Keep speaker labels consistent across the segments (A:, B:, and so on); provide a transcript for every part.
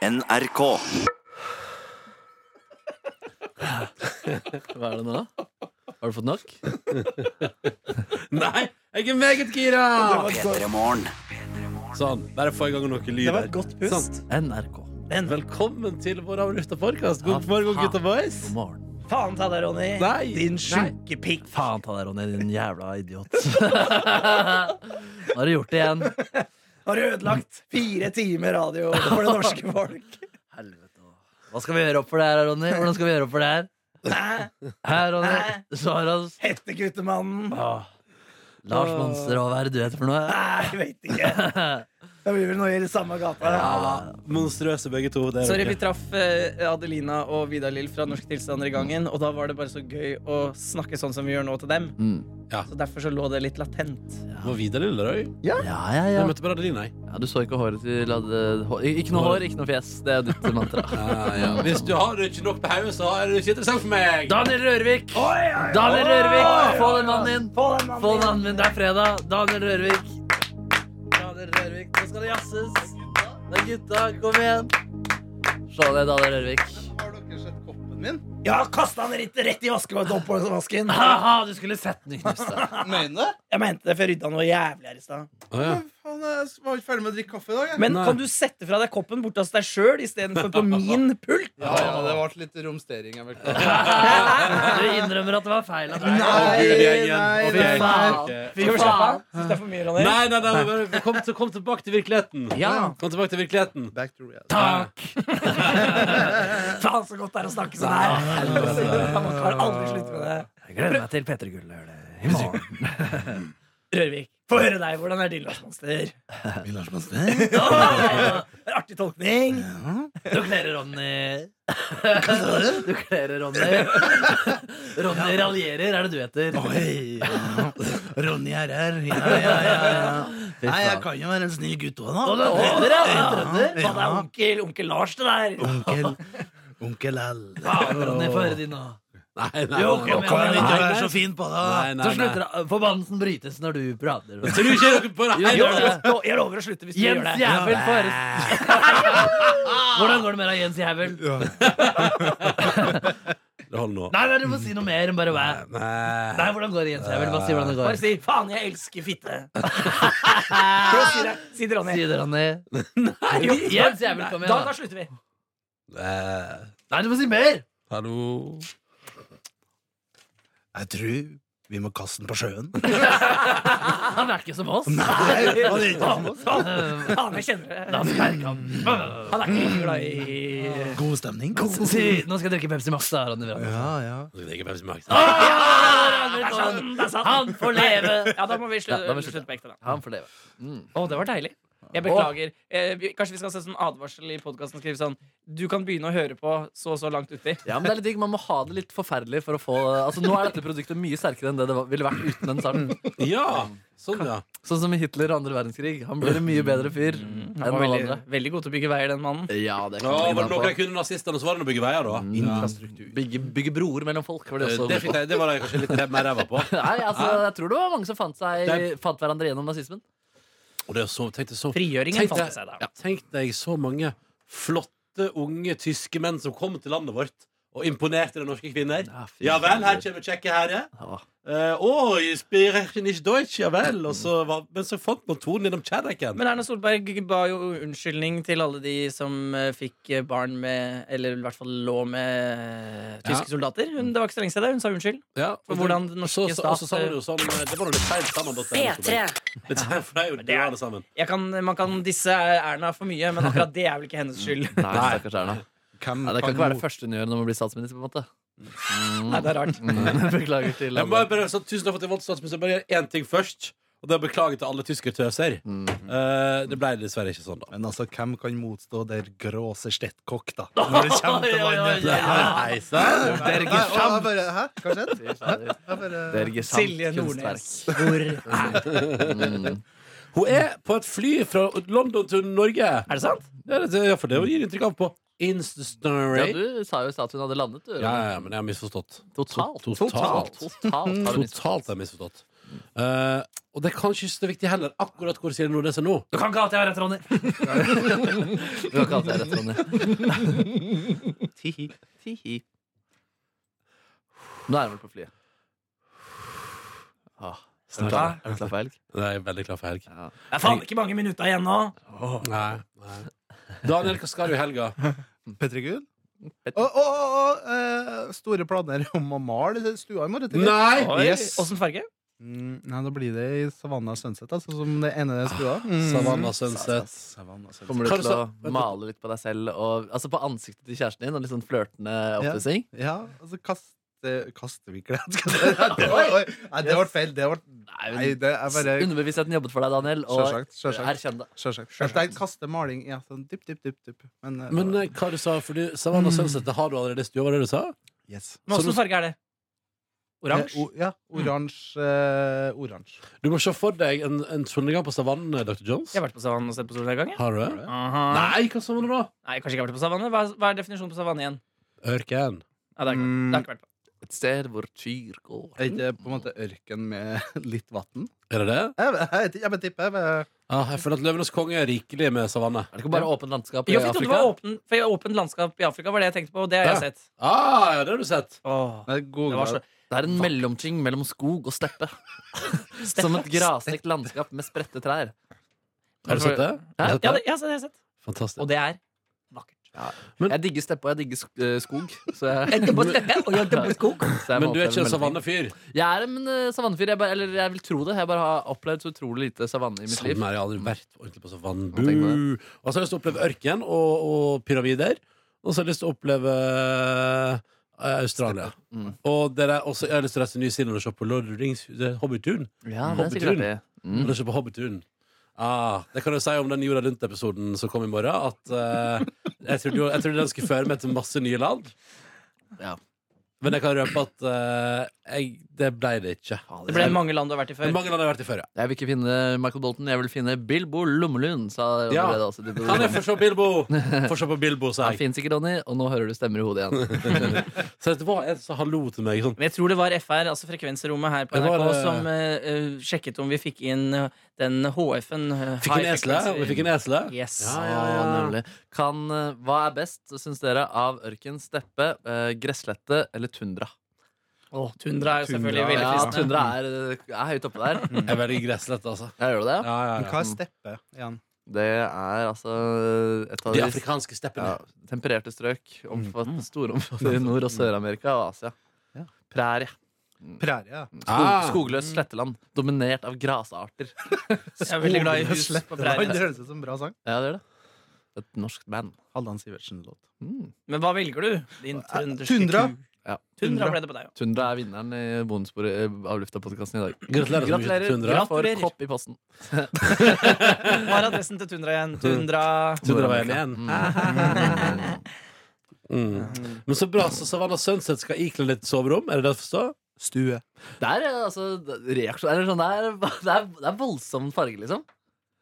A: NRK.
B: Hva er det nå? Har du fått nok?
C: Nei, jeg er meget gira!
A: P3 Morgen.
C: Sånn, bare få i gang noe lyd
D: Det var
C: her.
D: et godt pust.
C: Sant.
B: NRK.
C: Velkommen til vår avlufta podkast.
B: Ja,
C: God morgen,
B: faen.
C: gutta boys.
B: God morgen.
D: Faen ta deg, Ronny.
C: Nei,
D: Din
C: nei.
D: sjuke pikk.
B: Faen ta deg, Ronny, din jævla idiot. Nå har du gjort det igjen.
D: Har ødelagt fire timer radio for det norske folk.
B: Helvete. Hva skal vi gjøre opp for det her, Ronny? Hvordan skal vi gjøre opp for det her?
D: Hæ?
B: Her, Ronny.
D: Hæ?
B: Svar oss.
D: Hetteguttemannen.
B: Lars Monsterhove, hva er det du heter for noe?
D: Nei, jeg vet ikke. Det blir vel noe i samme gata.
C: Ah, Monstrøse begge to. Det er
E: Sorry,
C: dere.
E: vi traff eh, Adelina og Vidar Lill fra Norske Tilstander i gangen, og da var det bare så gøy å snakke sånn som vi gjør nå til dem.
B: Mm.
E: Så derfor så lå det litt latent.
C: Var Vidar Lillerøy?
B: Ja, ja, ja.
C: Jeg møtte bare Adeline, jeg.
B: ja. Du så ikke håret til hadde, hår- Ikke noe hår, ikke noe fjes. Det er ditt mantra.
C: Ah, Hvis du har ikke nok på hodet, så er du ikke interessant for meg.
B: Daniel Rørvik! Daniel Rørvik, få den mannen inn!
D: Få den
B: Få
D: mannen.
B: navnet mitt, det er fredag. Daniel Rørvik. Daniel Rørvik, Nå skal det jazzes. Det er gutta, kom igjen. Slå ned Daniel Rørvik.
D: inn. Ja, kasta han rett, rett i vaskevasken.
B: Haha, du skulle sett den i knuste.
D: Jeg mente det, for jeg rydda noe jævlig her i stad.
C: Å, ja.
F: Faen, jeg var ikke ferdig med å drikke kaffe i dag. Jeg.
D: Men
C: Nei.
D: kan du sette fra deg koppen borte hos deg sjøl istedenfor på min pult?
F: Ja, ja, det ble litt romstering. Jeg beklager.
B: Du innrømmer at det var feil av deg.
F: Nei,
C: Å, Gud, jeg-
F: nei,
C: Å, fy
F: nei,
C: faen.
B: Fy faen.
D: Syns det er for mye, Ronny?
C: Nei, nei, nei, bare- bare kom, til, kom tilbake til virkeligheten.
B: Ja.
C: Kom tilbake til virkeligheten.
F: Back to reality.
B: Takk.
D: Faen, så godt det er å snakke sånn her. Man kan aldri slutte med det.
B: Jeg gleder meg til Petter Gull gjør det i morgen.
D: Rørvik, få høre deg. Hvordan er din Lars-monster? Artig tolkning.
B: Du kler Ronny. Du kler Ronny. Ronny raljerer, er det du heter?
G: Ronny er her. Ja, ja, ja, ja.
B: Fy
G: Nei, jeg
B: faen.
G: kan jo være en snill gutt òg,
B: Å, du
G: da.
B: er trønder, ja. Du er trønder.
D: Hva er onkel, onkel Lars det der?
G: Onkel, onkel L.
B: Faen, Ronny, få høre din nå.
C: Nei, nei,
B: Jo,
C: nei.
B: kom igjen.
G: Kan ikke være
C: nei.
G: så fin på det.
C: Nei,
G: da.
C: nei,
B: Så
C: nei.
B: slutter det. Forbannelsen brytes når du prater.
C: Tror du ikke dere bare
B: Jo, jo,
D: Jeg
C: Nei,
B: jo.
C: nei.
D: lover, jeg lover å slutte hvis du gjør
B: Jens
D: det.
B: Jævel får Hvordan går det med deg, Jens Jævel?
C: Det holder nå.
B: Nei, nei, du må si noe mer enn bare hva. Nei, hvordan går det, Jens Jævel? Bare si hvordan det
D: Bare
B: går.
D: si 'faen, jeg elsker fitte'. Prøv å si det. Si det, Ronny.
B: Si det, Ronny.
D: Jo,
B: Jens Jævel, kom
D: Da,
B: igjen.
D: da
B: da.
D: slutter vi.
C: Nei.
B: Nei, du må si mer!
C: Eh, Hallo.
G: Jeg tror vi må kaste den på sjøen.
B: Han er ikke som oss. Eh,
D: Faen, jeg kjenner det.
B: La oss merke ham.
D: Han er ikke glad i
G: God stemning.
B: Si, nå skal jeg drikke Pepsi Max, da, Ronny. Brandt.
G: Ja, ja.
B: Ah,
D: Det er sant, det er sant.
B: Han får leve!
E: Ja, da må vi
B: Ja, da må vi slutte.
E: slutte slutte på ekte, da.
B: Han får leve. Mm.
E: Å, det var deilig. Jeg beklager. Eh, vi, kanskje vi skal se sånn advarsel i podkasten og skrive sånn Du kan begynne å høre på så og så langt uti.
B: Ja, men det er litt digg, Man må ha det litt forferdelig for å få Altså, Nå er dette produktet mye sterkere enn det det var- ville vært uten den sangen.
C: Ja, sånn ja.
B: Sånn som i Hitler og andre verdenskrig. Han ble en mye bedre fyr
D: Mm,
B: enn
E: Han
B: alle
E: var veldig,
B: andre.
E: veldig god til å bygge veier, den mannen.
B: Ja, det
C: Å, var det noe jeg
B: på.
C: kunne nazistene, så var det å bygge veier, da.
B: Infrastruktur. Bygge, bygge broer mellom folk. Var det,
C: Eh,
B: også.
C: Det, fikk jeg, det var jeg kanskje litt mer ræva på.
B: Nei, altså, jeg tror det var mange som fant, seg,
C: Det-
B: fant hverandre gjennom nazismen.
C: Og det er så, tenkte jeg så
E: Frigjøringen
C: Tenk
E: fant
C: deg,
E: seg der.
C: ja, tenk deg så mange flotte, unge tyske menn som kom til landet vårt og imponerte de norske kvinner.
B: Ja, fy
C: Ja vel, her kommer kjekke herre.
B: Ja.
C: Eh, Å, jeg sprechen nicht Deutsch, ja vel. Og så var, men så fant man tonen gjennom kjærligheten.
E: Men Erna Solberg ba jo unnskyldning til alle de som eh, fikk eh, barn med Eller i hvert fall lå med eh, tyske soldater. Hun, det var ikke så lenge siden. Hun sa unnskyld.
C: Ja,
E: For hvordan den
C: så,
E: norske
C: så, og så
E: stat-
C: sa man jo sånn eh, Det var noe litt feil sammen. da, til Erna Solberg. Litt feil, for det er jo det, alle sammen.
E: Jeg kan, man kan disse Erna for mye, men akkurat det er vel ikke hennes skyld.
B: Nei, stakkars Erna.
F: Hvem
B: Nei, det kan ikke være det første hun gjør når man blir statsminister. på en måte
E: Nei, det er rart.
B: Mm, Beklager til
C: Jeg må
B: alle.
C: bare, så, tusen takk for at jeg valgte statsminister. Jeg Bare gjør én ting først. Og det er å beklage til alle tyskertøser.
B: Mm.
C: Eh, det ble dessverre ikke sånn, da.
G: Men altså, hvem kan motstå der gråse stettkokk, da? Når det kommer til
B: Oi, oi,
G: landet.
B: oi, oi.
C: Nei, sant?
F: Nei, nei,
B: Der gikk
F: å, jeg bare, hæ? Hva skjedde?
B: Fy fader.
F: Jeg bare,
B: Det er gesamt
E: Silje
B: kunstverk.
E: Nordnes. Hvor
B: Mm.
C: Hun er på et fly fra London til Norge.
E: Er det sant?
C: Ja, det, ja, for det gir inntrykk av på Insta-story.
B: Ja,
C: Ja,
B: du sa jo i stad at hun hadde landet, du.
C: ja, ja, men jeg har misforstått.
B: Totalt.
C: Totalt.
B: Totalt. har du misforstått.
C: Totalt har jeg misforstått. Eh, og det er kanskje ikke så viktig heller akkurat hvor Silje Nordnes er nå.
D: Du kan ikke alltid ha rett, Ronny.
B: Du har ikke hatt det rett, Ronny. Tihi. Tihi. Nå er han vel på flyet. Ah, snart
D: Hva?
B: er det klar for helg.
C: Det er jeg veldig klar for helg.
B: Ja.
D: Det er faen ikke mange minutter igjen nå.
C: Nei, nei. Daniel, hva skal du i helga?
G: Petter Gull?
E: Petter.
G: Og, og, og, og eh, store planer om å male stua i morgen. tidlig.
C: Nei!
E: Oi,
G: Yes.
E: Åssen farge?
G: Mm, nei, da blir det i Savanna Sunset, altså, som det ene stua. Mm.
C: Savannah Sunset.
G: Savanna Sunset.
B: Kommer du
C: Kan du
B: til å
C: sa-
B: male litt på deg selv og altså på ansiktet til kjæresten din og litt sånn flørtende oppussing?
G: Ja, altså kaste, kastevikler skal jeg si. Det var- oi, Nei, det ble feil. Det ble, nei, det er bare
B: Underbevisstheten jobbet for deg, Daniel. Og
G: Sjølsagt. Sjølsagt.
B: erkjenn det.
G: sjølsagt. Jeg tenkte kaste maling ja, sånn dypp, dypp, dypp, dypp. Men, eh,
C: Men eh, hva du sa for du, Savannah Sunset, det har du allerede i stua, var det du sa?
G: yes.
E: Men
C: Så du-
E: Åssen farge er det?
G: Eh,
E: Oransje? Mm.
G: o- Ja, oransje. eh, oransje.
C: Du må se for deg en, en solnedgang på savannen, Dr. Jones.
E: Jeg har vært på savannen og sett på solnedgang. jeg.
C: Har du det?
E: Aha.
C: Nei, hva sa du da?
E: Nei, kanskje ikke har vært på savanne. Hva, er- hva er definisjonen på savanne igjen?
C: Ørken.
E: Nei, det har ikke vært- det har ikke vært på.
B: Et sted hvor kyr går.
G: Er
E: Mm.
G: ikke på en måte ørken med litt vann?
C: Er det det?
G: Jeg, vet- jeg, vet ikke, jeg, vet ikke, jeg, vet-
C: Ah, jeg føler at Løvenes konge er rikelig med savanne.
B: Er det ikke bare åpent landskap i
E: Jo, for jeg trodde det
B: Afrika?
E: var åpen, for jeg- åpent landskap i Afrika var det jeg tenkte på, og det har jeg
C: Ja.
E: sett.
C: Ah, ja, det har du sett.
E: Åh,
G: Nei,
E: det var så
G: Google
B: Det er en mellomting mellom skog og steppe. Som et grasdekt landskap med spredte trær.
C: Har du sett det?
B: Hæ?
C: Har
E: Ja,
C: du
E: det,
C: sett
E: ja,
C: det?
E: det har jeg sett.
C: Fantastisk.
E: Og det er vakkert.
C: Men-
B: Jeg digger steppe og jeg digger sk eh, skog. Så jeg,
E: Jeg jobber på steppe, og jeg jobber på skog.
B: så jeg må
C: Men du er
B: oppleve
C: ikke en
B: mellomting.
C: savannefyr?
B: Jeg er en eh, savannefyr. Jeg bare, eller jeg vil tro det. Jeg bare har opplevd så utrolig lite savanne i mitt
C: Samme
B: liv.
C: her, jeg har aldri vært ordentlig på savannen.
B: Ja, tenk på
C: Bu! Og så har jeg lyst til å oppleve ørken og, og pyramider. Og så har jeg lyst til å oppleve eh, Australia.
B: Mm.
C: Og det der, også, jeg har lyst til å reise til New Zealand og se på Lord of the Rings, det er Hobbitun.
B: Ja, det er
C: Hobbitun.
B: sikkert artig. Mm.
C: Eller se på Hobbitun. Ah, det kan jeg si om den Jorda Rundt-episoden som kom i morgen. At eh, jeg, trodde, jo- jeg trodde den skulle føre meg til masse nye land.
B: Ja.
C: Men jeg kan røpe at eh, jeg, det ble det ikke.
E: Det ble mange land du har vært i
C: Men
E: før.
C: mange land har jeg vært i før, ja.
B: Jeg vil ikke finne Michael Bolton, jeg vil finne Bilbo Lommelund, sa
C: Ja.
B: allerede også til
C: Kan jeg
B: programmet.
C: få se Bilbo? Få se på Bilbo, sa
B: Han
C: jeg.
B: fins ikke, Ronny, og nå hører du stemmer i hodet igjen.
C: Så det var en som sa hallo til meg. Sånn.
E: Men jeg tror det var FR, altså frekvenserommet her på
C: Det
E: NRK,
C: var, eh,
E: som eh, eh, sjekket om vi fikk inn eh, den HF-en. eh,
C: Fikk en
E: high
C: esle,
E: frequency.
C: og vi fikk en esle.
E: Yes.
C: Ja, ja, ja.
B: Å, nemlig. Kan, eh, hva er best, syns dere, av ørken, steppe, eh, gresslette eller tundra?
E: Åh, tundra er jo selvfølgelig
G: Tundra,
E: veldig
B: Ja,
E: fristende.
B: tundra er, er høyt oppe der.
C: Jeg er veldig gresslett, altså.
B: Ja, gjør du det?
C: Ja, ja,
G: Men
C: ja.
G: hva er steppe igjen?
B: Det er altså et av
C: De
B: de
C: afrikanske steppene.
B: ja, tempererte strøk, omfattende store områder i Nord- og Sør-Amerika og Asia.
G: Ja.
B: Prærie.
G: Prærie. ja.
B: Skog,
C: Ah.
B: skogløst sletteland, dominert av grasarter.
E: Jeg er veldig glad i hus
G: Slett. Oi,
E: på
G: Det
E: prærien.
G: høres ut som en bra sang.
B: Ja, det gjør det. Et norsk band.
G: Halland Sivertsen-låt.
B: Mm.
E: Men hva velger du?
C: Eh,
E: Din trønderske
G: Tundra.
E: ku.
B: Ja.
E: Tundra ble det på deg, jo.
B: Tundra er vinneren i bonusbordet av Lufta-podkasten i dag.
C: Gratulerer så mye til Tundra.
B: Gratulerer. For
E: Gratulerer.
B: kopp i posten.
E: Hva er adressen til Tundra igjen? Tundra
C: Tundra var en igjen.
B: Mm.
C: Mm. Men så bra, så Savannah Sunset skal ikle litt soverom. Er det det å forstå?
G: Stue.
B: Det er eh, altså reaksjon eller sånn, det, er, det, er, det er voldsom farge, liksom.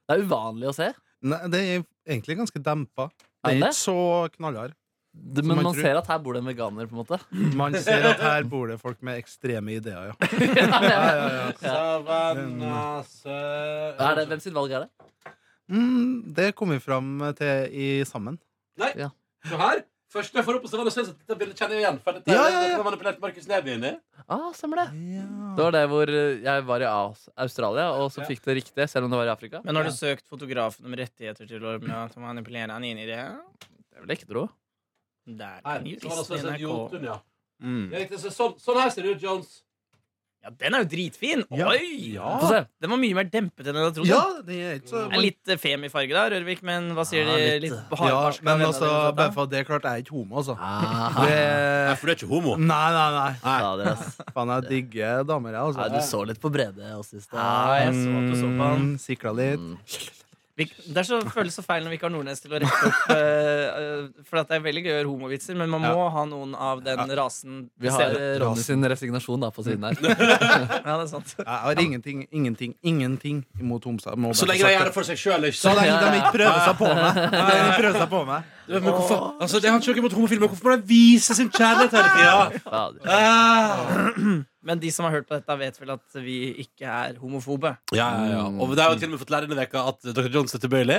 B: Det er uvanlig å se.
G: Nei, det er egentlig ganske dempa. Det
B: Er
G: er
B: det?
G: ikke så knallhard.
B: Det,
G: Som
B: men
G: man
B: man
G: tror.
B: ser at her bor det en veganer, på en måte.
G: Man ser at her bor det folk med ekstreme ideer, ja. ja, ja, ja.
C: Savannah Sunset
B: Er det, hvem sitt valg er det?
G: Mm, det kom vi fram til i sammen.
C: Se her. Første jeg får opp på Savannah Sunset, dette bildet kjenner jeg igjen. For dette
G: Ja,
C: er
G: ja, ja.
C: dette var manipulert Markus Neby inn i.
B: Ah, stemmer det. Det var det hvor eh, jeg var i Aus- Australia, og så fikk det riktig, selv om det var i Afrika.
E: Men har du søkt fotografen om rettigheter til å manipulere han inn i det?
B: Det er vel ikke tro.
E: Der
C: Her, Savannah
E: kan juristen i
C: Sunset,
E: NRK
C: Jotun, ja.
G: Mm.
C: Det er riktig, så Sånn, sånn her ser det ut, Jones.
E: Ja, den er jo dritfin!
G: Ja.
E: Oi!
G: Ja.
B: Få se.
E: Den var mye mer dempet enn jeg hadde trodd.
G: Ja, det er ikke så
E: Det er litt eh, fem i farge da, Rørvik, men hva sier de litt,
G: ja,
E: hardbarska
G: Men
E: vennene
G: altså,
E: dine om
G: bare
E: dette?
G: for at det er klart, jeg er ikke homo, altså.
B: Ah,
G: Det...
C: Nei, for du er ikke homo.
G: Nei, nei, nei.
B: ja, det er, ass.
G: Faen, jeg digger damer, jeg,
B: ja,
G: altså.
B: du så litt på Brede og syns det.
E: Ja, jeg så at du så på han.
G: Mm, Sikla litt.
B: Mm.
E: Vi, det er så, føles så feil når vi ikke har Nordnes til å rette opp eh, eh, For at det er veldig gøy å gjøre homovitser, men man må ha noen av den rasen.
B: Vi har eh, Ronny sin resignasjon da på siden her.
E: Ja, det er sant.
G: Jeg har ingenting, ingenting, ingenting imot homser. Må
C: Så
G: bare
C: lenge de
G: sagt
C: gjør det for seg sjøl, ikke
G: Så
C: sant?
G: lenge de ikke prøver seg på meg. Så lenge de prøver seg på meg.
C: Men hvorfor, altså, det har ikke noe imot homofile, men hvorfor må de vise sin kjærlighet hele tida?
B: Fader.
C: Ah.
E: Men de som har hørt på dette, vet vel at vi ikke er homofobe.
C: Ja, ja, ja. Og det har jo til og med fått lære denne veka at Dr. Jones er tilbøyelig,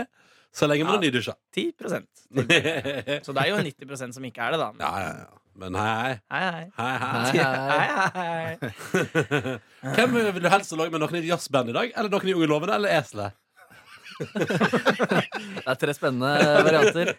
C: så lenge man har nydusja.
E: 10 Så
C: ja,
E: det er jo 90 som ikke er det, da.
C: ja, ja. Men hei,
E: Hei, hei.
C: hei, hei.
B: Hei, hei.
E: Hei, hei, hei.
C: Hvem vil du helst lage med noen i et jazzband i dag? Eller noen i Unge lovende? Eller Eselet?
B: Det er tre spennende varianter.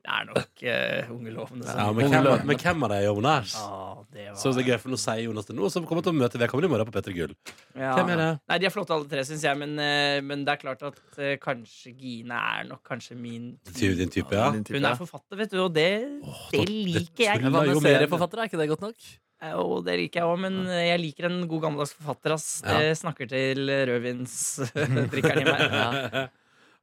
E: Det er nok uh, ungelovene som
C: Ja, men, hvem, men hvem av dem er Jonas?
E: Å, det var...
C: Så det er gøy, for nå sier Jonas det nå, så kommer til å møte vedkommende i morgen på Petter Gull.
E: Ja.
C: Hvem er det?
E: Nei, De er flotte alle tre, syns jeg, men, eh, men det er klart at eh, kanskje Gine er nok kanskje min
C: Til din type, ja.
G: Din type,
E: Hun
G: ja.
E: er forfatter, vet du, og det, det liker jeg.
B: Hva med serieforfattere? Er ikke det godt nok?
E: Eh, Og det liker jeg òg, men eh, jeg liker en god gammeldags forfatter, ass. Det snakker til rødvinsdrikkeren i meg.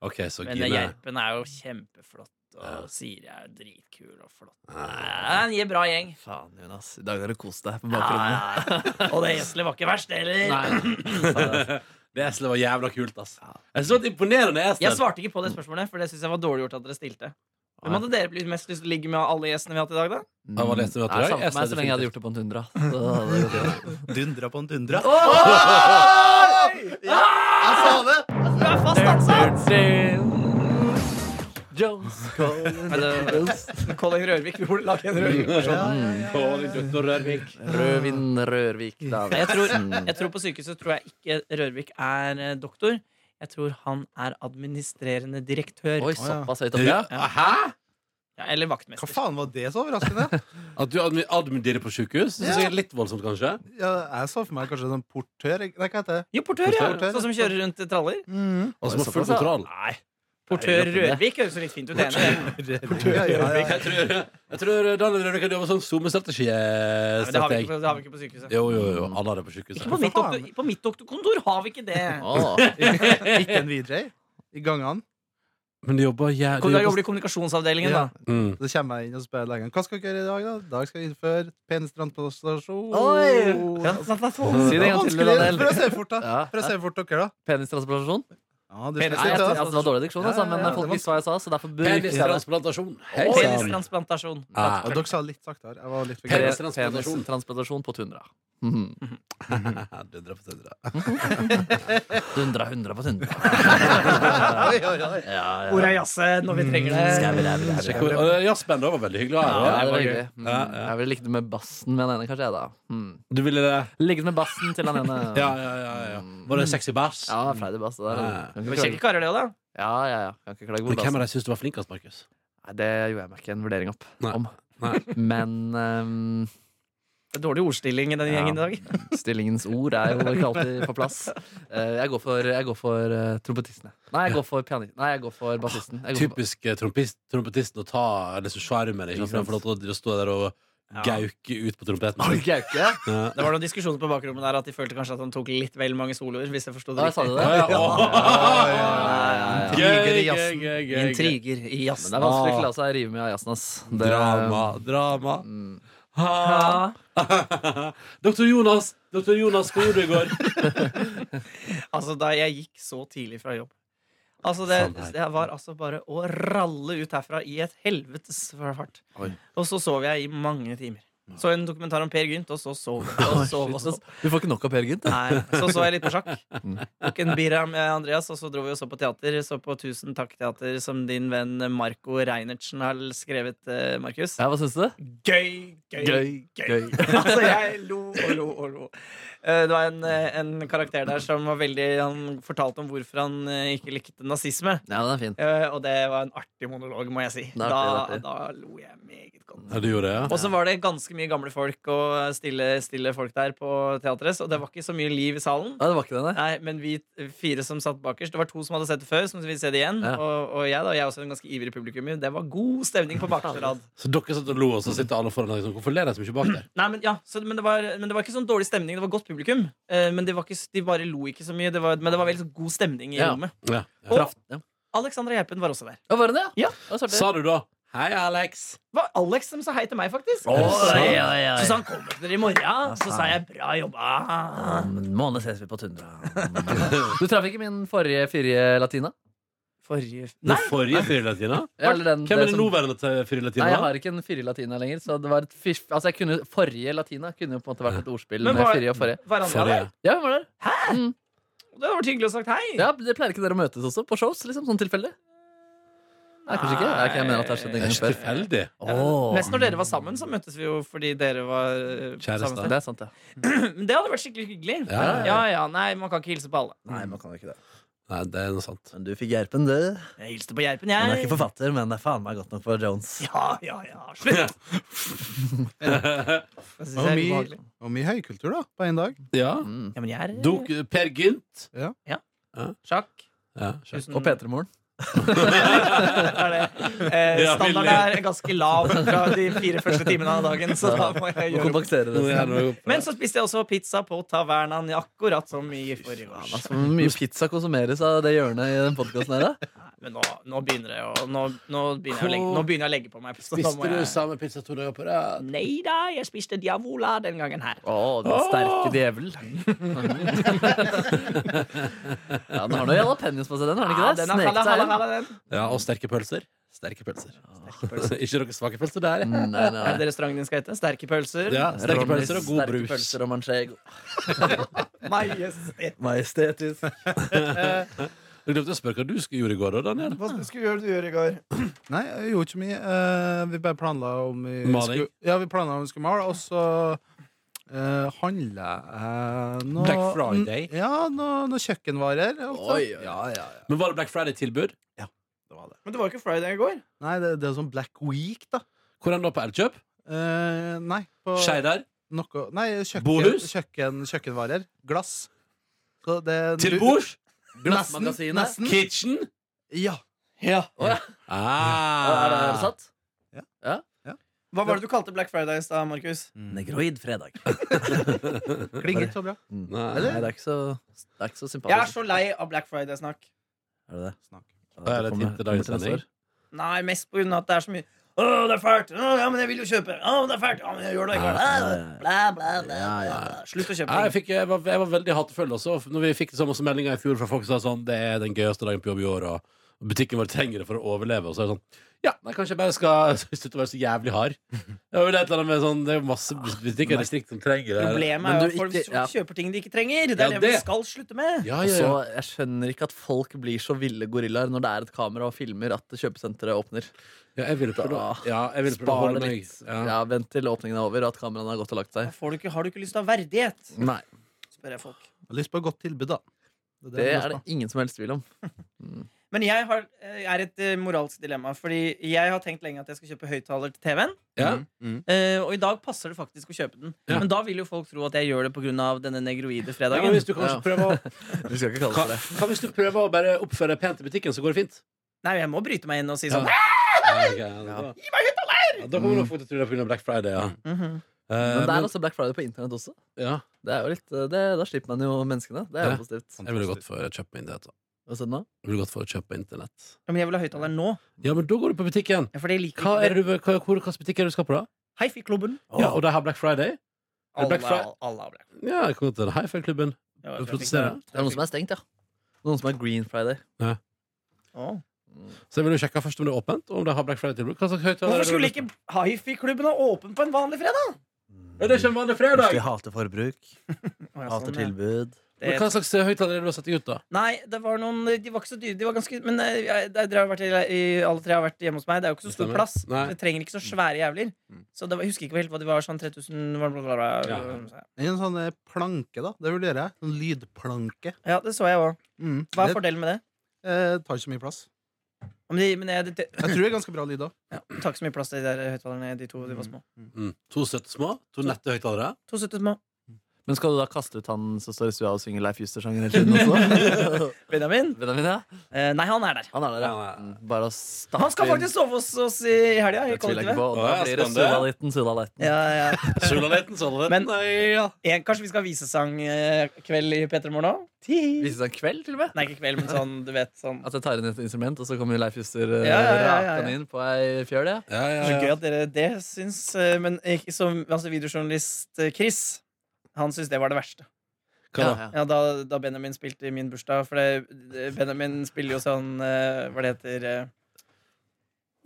C: OK, så
E: Men eh,
C: Gine.
E: Gjerpen er jo kjempeflott. Og Siri er dritkul og flott. Ja, en bra gjeng.
B: Faen, Jonas. I dag har du kost deg på
E: Ja,
B: bakrommet.
E: ja, ja. Og det Esle var ikke verst, heller.
C: Det Eselet var jævla kult, ass. Jeg synes det var et imponerende
E: Jeg
C: Eselet.
E: svarte ikke på det spørsmålet, for det syns jeg var dårlig gjort at dere stilte. Hvem hadde dere blitt mest lyst til å ligge med av alle gjestene vi har hatt i dag, da?
C: Ja, hva leste du at du
B: Nei,
C: har?
B: samme for meg så lenge jeg hadde gjort det på en tundra. Så hadde det gått bra.
G: Dundra på en dundra.
E: Du er fast ansatt!
B: Jones, Colin, Jones.
E: Colin Rørvik, vi burde lage en
C: sånn,
E: Rørvik-versjon.
C: «Mm,
B: Rødvin Rørvik. David. Mm.
E: Jeg tror, jeg tror på sykehuset tror jeg ikke Rørvik er eh, doktor. Jeg tror han er administrerende direktør.
B: Oi, såpass høyt oppe, ja.
E: Ja, eller
G: Hva
E: vaktmester.
G: faen var det så overraskende?
C: At du admi- admirerer på sjukehus? Det synes jeg er litt voldsomt, kanskje.
G: Ja, jeg så for meg kanskje sånn portør jeg- Nei, hva heter det?
E: Jo, portør, ja.
G: Portør, ja.
E: Sånn som kjører rundt i traller.
C: Og som har Altså, full kontroll.
E: Nei. Portør Rørvik høres jo litt fint ut. det ene.
G: Ja, ja, ja.
C: Jeg tror, jeg tror Daniel Rønne kan jobbe som
E: Men Det har vi
C: SoMe-strategi.
E: ikke på, det har vi ikke på sykehuset.
C: Jo, jo, jo. Alle har det på sjukehuset.
E: Ikke på mitt, doktor, på mitt doktorkontor har vi ikke det.
B: Åh.
G: Ikke en VJ i gangene.
C: Men de jobber jæ- de
E: Kan du
C: jobber-
E: jobbe i kommunikasjonsavdelingen, da?
G: Ja.
C: Mm.
G: Så kommer jeg inn og spør legen hva skal dere gjøre i dag. da? I dag skal vi innføre penistransplantasjon.
B: Oi! Si det en gang til,
G: Vanskelig.
B: Daniel.
G: Prøv å se fort, da.
B: Ja.
G: Prøv å se fort dere, da.
B: Penistransplantasjon?
G: Ja, du
B: Nei,
G: slipper
B: jeg,
G: ikke, da.
B: altså, det var dårlig diksjon,
G: Ja,
B: altså,
G: ja,
B: men
G: ja, det
B: folk
G: var-
B: visste hva jeg sa, så derfor brukte jeg det.
C: Penistransplantasjon. Hei sann.
E: Penistransplantasjon.
C: Ah.
G: Ja, dere sa litt saktere. Jeg var litt for grei.
C: Penistransplantasjon.
B: Penistransplantasjon på tundra. Mhm.
C: Dundra på dundra.
B: Dundra hundra på tundra.
G: Oi, oi, oi.
E: Hvor er jazzet når vi trenger Mm. det?
C: Sjekk hvor- og Jazzbandet var veldig hyggelig å ha
B: Ja,
C: her.
B: det
C: også.
B: var hyggelig. Mm.
C: Ja, ja.
B: Jeg ville ligget med bassen med han ene, kanskje jeg, da. Mm.
C: Du ville det?
B: Ligget med bassen til han ene.
C: Ja, ja, ja. ja.
E: Mm.
C: Var det sexy bæsj?
B: Ja, Friday Bass. Det der.
C: Ja.
B: Kan
E: Det
B: ikke
E: var kjekke
B: klage-
E: karer, det òg, da.
B: Ja, ja, ja. Kan ikke klage på
C: Men hvem
B: bassen.
C: av de syns du var flinkest, Markus?
B: Nei, det gjorde jeg meg ikke en vurdering opp
C: Nei.
B: om.
C: Nei.
B: Men ehm,
E: Det er dårlig ordstilling i den
B: Ja.
E: gjengen i dag.
B: stillingens ord er jo ikke alltid på plass. Eh, jeg går for, jeg går for eh, trompetisten, jeg. Nei, jeg går for pianisten. Nei, jeg går for bassisten. Jeg går for-
C: Typisk eh, trompist, trompetisten å ta liksom sjarmen. Ikke sant? For han får lov til å stå der og gauke ut på trompeten.
B: Oi, Gauke!
C: Ja.
E: Det var noen diskusjoner på bakrommet der at de følte kanskje at han tok litt vel mange soloer. Hvis jeg forstod det
B: Ja, sa du
E: riktig.
B: det?
C: Ja, ja.
B: Ja, ja, ja.
G: Intriger i
C: Gøy,
G: jazzen.
C: gøy, gøy, gøy, gøy.
E: Intriger i
B: Men
E: jazz.
B: det er vanskelig å la seg rive med av jazzen, ass. Det-
C: Drama, drama.
B: Mm.
C: Ha.
E: Ah.
C: Doktor Jonas, doktor Jonas, hva gjorde du i går?
E: Altså, da jeg gikk så tidlig fra jobb Altså, det,
C: Samme her.
E: det var altså bare å ralle ut herfra i et helvetes fart.
C: Oi.
E: Og så sov jeg i mange timer. Så en dokumentar om Per Gynt, og så sov jeg. Og sov, og så,
B: Shit, ass. Du får ikke nok av Per Gynt? da.
E: nei, så så jeg litt på sjakk.
B: Mm.
E: Tok en birra med Andreas, og så dro vi og så på teater. Så på Tusen takk teater, som din venn Marco Reinertsen har skrevet, eh, Markus.
B: Ja, hva syns du?
E: Gøy, gøy, gøy. altså, jeg lo og lo og lo. Eh, Det var en, eh, en karakter der som var veldig Han fortalte om hvorfor han eh, ikke likte nazisme.
B: Ja, den er fin.
E: Eh, Og det var en artig monolog, må jeg si.
B: er
E: da,
B: artig, det er
E: da lo jeg meget godt.
C: Ja, du gjorde det, ja?
E: Og så var det ganske mye gamle folk og stille, stille folk der på teatret, så det var ikke så mye liv i salen.
B: Ja, det var ikke den, nei.
E: Nei, men vi fire som satt bakerst Det var to som hadde sett det før, som ville se det igjen.
B: Ja.
E: Og, og jeg, da. Jeg er også en ganske ivrig publikummer. Det var god stemning på bakerste rad.
C: Så dere satt og lo, og så sitter alle foran deg sånn. Hvorfor ler de så mye bak der?
E: Nei, men, ja, så, men, det var, men det var ikke sånn dårlig stemning. Det var godt publikum. Eh, men det var ikke, de bare lo ikke så mye. Det var, men det var veldig sånn god stemning i
B: Ja.
E: rommet.
C: Ja.
E: Og
B: Ja.
E: Alexandra Gjerpen var også der.
B: Ja, var den det?
E: Ja.
B: Det var svart, det.
C: Sa du da Hei, Alex.
E: Det var Alex som sa hei til meg, faktisk.
H: Oi, oi, oi.
E: Så sa han 'kommer dere i morgen'? Så sa jeg 'bra jobba'.
H: Om en måned ses vi på Tundra.
B: Du traff ikke min forrige fyrige latina?
E: Forrige
C: Den forrige Fyrilatina?
B: Eller den,
C: Hvem er den
B: som-
C: nåværende
B: sånn- Nei, jeg
C: Fyrilatina?
B: har ikke en fyrige latina lenger. Så det var et fyr, altså jeg kunne, forrige latina kunne jo på en måte vært et ordspill
E: Men
B: med
E: hva-
B: fyrige og forrige.
E: Hverandre
C: Forrige.
E: der.
B: Ja, hvem var der?
E: Det hadde vært hyggelig å sagt hei.
B: Ja, det pleier ikke dere å møtes også? På shows? liksom, Sånn tilfeldig? Nei, kanskje ikke. Nei, ok, jeg mener at det har skjedd en
C: Det er
B: gang
C: ikke
B: før.
C: tilfeldig.
B: Åh.
E: Mest når dere var sammen, så møttes vi jo fordi dere var eh, på
C: Kjærester.
E: samme sted.
B: Det er sant, ja.
E: Men det hadde vært skikkelig hyggelig.
C: Ja, ja, ja.
E: Nei, man kan ikke hilse på alle.
B: Nei, man kan ikke det.
C: Nei, det er noe sant.
B: Men du fikk hjelpen, du.
E: Jeg hilste på Gjerpen,
B: Hun er
E: jeg.
B: ikke forfatter, men det er faen meg godt nok for Jones.
E: Ja, ja, ja. Slutt! Det synes
G: Og
E: jeg er
G: mye,
E: ubehagelig.
G: og mye høykultur, da, på én dag.
C: Ja.
B: Mm.
E: Ja, men jeg er
C: Dok per Gynt.
E: sjakk.
C: Ja, skjønner.
E: Tusen-
B: Og P3-moren.
E: er det. Eh,
C: Ja,
E: standarden er ganske lav fra de fire første timene av dagen, så da må jeg
B: Må
E: gjøre opp.
B: kompensere det.
C: Nå er det jo-
E: Men så spiste jeg også pizza på tavernaen, akkurat som i forrige år.
B: Altså, hvor mye pizza konsumeres av det hjørnet i den podkasten her, da?
E: Men nå, nå begynner det å nå, nå, begynner jeg å legge, nå begynner jeg å legge på meg. Så da må
C: Spiste du
E: jeg...
C: samme pizza to dager på rad?
E: Nei da, jeg spiste diavola den gangen her.
B: Å, den sterke djevel. ja, den har noe jalapeños på seg, den har den ikke
E: Ja,
B: det?
E: den er
B: Snek
E: halla,
B: seg
E: halla,
B: inn.
E: halla, den.
C: Ja, og sterke pølser. Sterke pølser. Mm. ikke noen svake pølser der.
B: Nei, nei,
E: Er det
B: nei.
E: det restauranten din skal hete? Sterke pølser?
C: Ja, sterke
B: Romlis,
C: pølser og god
B: sterke
C: brus.
B: pølser og manchego.
E: Majestet.
B: Majestetisk.
C: Du glemte å spørre hva du skulle gjøre i går, da, Daniel.
G: Hva
E: skulle du gjøre i går?
G: Nei, jeg gjorde ikke mye. Eh, vi bare planla om vi
C: Maling?
G: skulle Ja, vi planla om vi skulle male, og så uh, handla jeg noe
C: Black Friday?
G: N- Ja, noe, noe kjøkkenvarer. altså.
C: Oi, oi.
G: Ja, ja, ja.
C: Men var det Black Friday-tilbud?
G: Det var det.
E: Men det var jo ikke Friday i går.
G: Nei, det, det er sånn Black Week, da.
C: Hvordan da på Elkjøp?
G: Eh, nei, på
C: Skeidar?
G: noe Nei, kjøkken,
C: Bohus?
G: kjøkken, kjøkkenvarer. Glass. Så det-
C: Til bords?
G: Nesten.
B: Glassmagasinet.
G: nesten.
C: Kitchen?
G: Ja.
B: Er det er det
C: Ah.
B: sant?
E: Hva var det du kalte Black Friday i stad, Markus?
B: Mm. Negroid fredag.
G: Klinger ikke så bra.
B: Nei,
C: Nei.
B: det er ikke så, det er ikke så
E: Jeg er
B: sympatisk.
E: så lei av Black Friday-snakk.
B: Er det det?
G: Snakk.
B: Ja,
C: Da er det et
B: kommer-
C: hint til dagens
B: kommer neste
C: sending.
B: år.
E: Nei, mest på grunn av at det er så mye Åh, det er fælt! Åh, ja, men jeg vil jo kjøpe! Åh, det er fælt! Ja, men jeg gjør det ikke!
B: Ja,
E: Blæ,
B: ja, ja.
E: blæ, blæ, blæ.
B: Ja, ja.
E: Slutt å kjøpe
C: Nei, jeg,
E: ting.
C: fikk, jeg, var, jeg var veldig hatefull også. Når vi fikk så masse meldinger i fjor fra folk som sa sånn Det er den gøyeste dagen på jobb i år, og butikken vår trenger det for å overleve. Og så er det sånn Ja, nei, kanskje jeg bare skal slutte å være så jævlig hard. Det er jo et eller annet med sånn Det er
B: Ah,
C: masse butikker i distriktet som trenger det.
E: Problemet
B: Men
E: er jo
B: du
E: at folk
B: ikke- ja.
E: kjøper ting de ikke trenger. Det
C: Ja,
E: er det vi
C: det.
E: skal slutte med.
C: Ja,
B: Og
C: ja,
B: så,
C: ja.
B: jeg skjønner ikke at folk blir så ville gorillaer når det er et kamera og filmer at kjøpesenteret åpner.
C: ja jeg ville prøve å- ja, jeg ville prøve
B: Spar
C: å holde
B: det
C: meg
B: Ah, litt.
C: ja.
B: Ja, Vent til åpningen er over og at kameraene har gått og lagt
E: Da
B: seg.
E: får du ikke, har du ikke lyst til å ha verdighet?
B: Nei,
E: Spør jeg folk.
G: Jeg har lyst på et godt tilbud, da. Det
B: Det
G: jeg
B: er
G: har
B: det
G: lyst på.
B: ingen som helst tvil om.
E: Men jeg har, eh, er et eh, moralsk dilemma. Fordi jeg har tenkt lenge at jeg skal kjøpe høyttaler til TV-en.
C: Ja.
B: Mhm.
E: eh, Og i dag passer det faktisk å kjøpe den.
C: Ja.
E: Men da vil jo folk tro at jeg gjør det pga. denne negroide
C: Ja,
E: fredagen.
C: men hvis du kanskje
B: Ja.
C: prøver å,
B: Vi skal ikke kalle
C: hva,
B: det det.
C: hva hvis du prøver å bare oppføre deg pent i butikken, så går det fint?
E: Nei, jeg må bryte meg inn og si
C: Ja.
E: sånn.
C: Ja, ok, ja, da- Ja, Da kommer nok folk til å tro det er pga. Black Friday, ja.
B: Men
E: Mhm.
C: Eh,
B: det er
C: men,
B: også Black Friday på internett også.
C: ja.
B: Det er jo litt, eh, det, da slipper man jo menneskene. Det er
C: Ja.
B: jo positivt.
C: Jeg ville gått for å kjøpe meg inn det. altså.
B: Hva sa du nå?
C: Jeg ville gått for å kjøpe på internett.
E: Ja, men jeg vil ha høyttaler nå.
C: Ja, men da går du på butikken.
E: Ja, for det liker
C: Hva
E: ikke
C: er det du, hva, hvor, hvilken butikk er det du skal på, da?
E: Hifi-klubben.
C: Ja, Og de har Black Friday? Er det
E: Alle,
C: Black Fri-
E: alle, alle har Black
C: Ja, jeg kan gå til Haifa-klubben.
E: Ja,
C: Du
E: trafikk-
C: protesterer?
B: Det er noen som er stengt, ja. Noen som er Green Friday.
E: Å.
C: Så jeg vil jo sjekke først om det er åpent, og om de har Black Friday-tilbud. Hva slags høyttaler er
E: Hvorfor
C: det du-
E: skulle ikke hifi-klubben ha åpen på en vanlig fredag?
C: Ja, Det er ikke en vanlig fredag!
B: De hater forbruk,
E: Å, ja,
B: hater
E: sånn, ja.
B: tilbud.
C: Men hva slags eh, høyttaler er det du har satt ut, da?
E: Nei, det var noen De var ikke så dyre. De var ganske, men eh, jeg, det- dere har vært, i- i- alle tre har vært hjemme hos meg. Det er jo ikke så stor
C: Stemmer.
E: plass.
C: Nei. Mm.
E: Det trenger ikke så svære jævler. Så det var, jeg husker ikke helt hva de var. Sånn 3000 bla, bla, bla, bla.
C: Ja.
E: Ja.
G: En sånn eh, planke, da. Det vurderer jeg. Sånn lydplanke.
E: det så jeg òg.
G: Mm.
E: Hva er
G: det
E: fordelen med det?
G: eh, tar ikke så mye plass.
E: Men, de, men jeg, det, det
G: Jeg tror det er ganske bra lyd òg.
E: ja, det tar ikke så mye plass til de der høyttalerne, de to. De var små.
C: Mm. To søte små, to nette høyttalere.
E: To søtte små.
B: Men skal du da kaste ut han som står i stua og synger Leif Juster-sangen hele tiden også?
E: Benjamin?
B: Benjamin, ja.
E: Eh, nei, han er der.
B: Han er der, ja. Mm, Bare å stappe
E: Han skal
B: inn.
E: faktisk sove hos oss i helga. i
B: Det tviler jeg
E: kollektivet.
B: ikke på. Da
C: Å, ja,
B: blir det
C: skal han det?
B: Sudaliten, Sudaliten.
E: Ja, ja.
C: Sulaleten, sulaleten.
E: Men en, kanskje vi skal ha visesangkveld i P3 Morgen òg?
B: Viste seg en kveld, til og med.
E: Nei, ikke kveld, men sånn, du vet sånn.
B: At jeg tar inn et instrument, og så kommer Leif Juster ja,
E: Ja, ja, ja, ja, ja.
B: rakende inn på ei fjøl. Ja.
C: Ja, ja,
E: Så
C: ja.
E: gøy at dere det syns. eh, Men ikke som altså, videojournalist eh, Chris, han syns det var det verste.
C: Hva da?
B: Ja, ja.
E: Ja, da, da Benjamin spilte i min bursdag. For det, Benjamin spiller jo sånn eh, Hva det heter eh,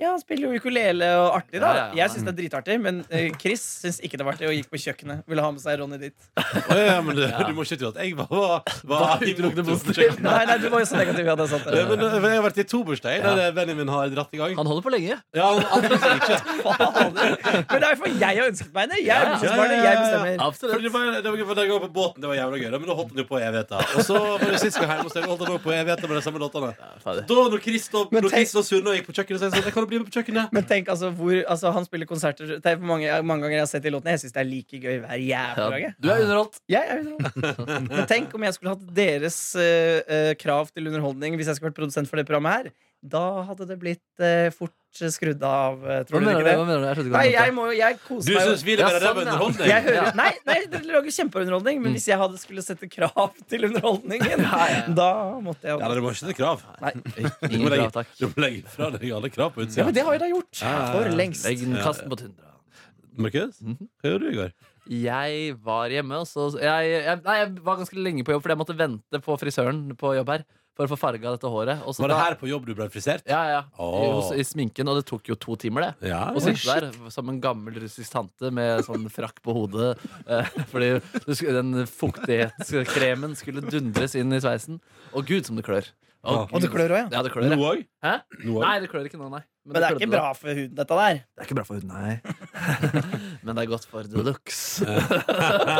E: Ja, han spiller jo ukulele og artig, da.
B: Ja, ja, ja.
E: Jeg syns det er dritartig, men eh, Chris syns ikke det var artig og gikk på kjøkkenet. Ville ha med seg Ronny dit.
C: Å, ja, men du, du må ikke tro at jeg var, var, var utelukkende positiv.
E: Nei, nei, du var jo så negativ. Ja, det er sant.
C: Ja, men, eh, jeg har vært i to bursdager der eh, vennen min har dratt i gang.
B: Han holder på lenge.
C: Ja, han, han,
E: Fader. Men det er for jeg har ønsket meg det. Jeg er
B: Ja, ja,
E: bursdagsbarnet,
C: ja, ja, ja.
E: jeg bestemmer.
C: For det var, det var, for den gangen på båten, det var jævla gøy, da, men da holdt han jo på evigheter. Og så var det sist gang hjemme hos deg, holdt han også på evigheter med de samme låtene.
B: ferdig.
C: Da når Kristoff
E: Men tenk-
C: og Sunna gikk på kjøkkenet, så jeg sa jeg kan du bli med på kjøkkenet.
E: Men tenk, altså, hvor, altså han spiller konserter Det er for mange, mange ganger jeg har sett de låtene. Jeg syns det er like gøy hver jævla gang. jeg.
B: Du er underholdt.
E: Jeg er underholdt. Men tenk om jeg skulle hatt deres eh, eh, krav til underholdning hvis jeg skulle vært produsent for det programmet her. Da hadde det blitt eh, fort skrudd av, eh,
B: Hva
E: tror
B: mener
E: dere
B: du?
E: ikke
B: Hva
E: det?
B: mener du? Jeg skjønte ikke hva du
E: Nei, jeg
B: mente.
E: må jo Jeg koser
C: Du
E: meg jo.
C: syns vi leverer
B: Ja,
C: ræv
B: sånn, ja.
C: underholdning?
E: Jeg hører, nei, nei, dere lager kjempeunderholdning, men hvis jeg hadde skulle sette krav til underholdningen, da måtte jeg
C: Ja, men det var ikke et krav.
B: Ingen
C: Du må
B: bra,
C: legge-
B: takk.
C: Du må legge fra deg alle krav på
E: Ja,
C: utsida.
E: men det har jeg da gjort.
C: ja, ja.
E: For lengst.
B: Legg den kasten på tundra.
C: Markus, hva gjorde du i går?
B: Jeg var hjemme, og så jeg, jeg, Nei, jeg var ganske lenge på jobb, fordi jeg måtte vente på frisøren på jobb her for å få farga dette håret. Og så
C: Var det
B: da-
C: her på jobb du ble frisert?
B: Ja, ja. I,
C: Åh.
B: hos, I sminken, og det tok jo to timer, det.
C: Ja,
B: Å sitte der som en gammel russisk tante med sånn frakk på hodet eh, fordi du skulle, den fuktighetskremen skulle dundres inn i sveisen. Å gud, som det klør. Å,
C: Ja.
B: Gud.
E: Og det klør òg, ja.
B: Ja, det klør.
C: Nå
B: ja.
C: òg?
B: Hæ?
C: Nå òg?
B: Nei, det klør ikke nå, nei.
E: Men det er ikke bra for huden, dette der.
B: Det er ikke bra for huden, nei. Men det er godt for the looks.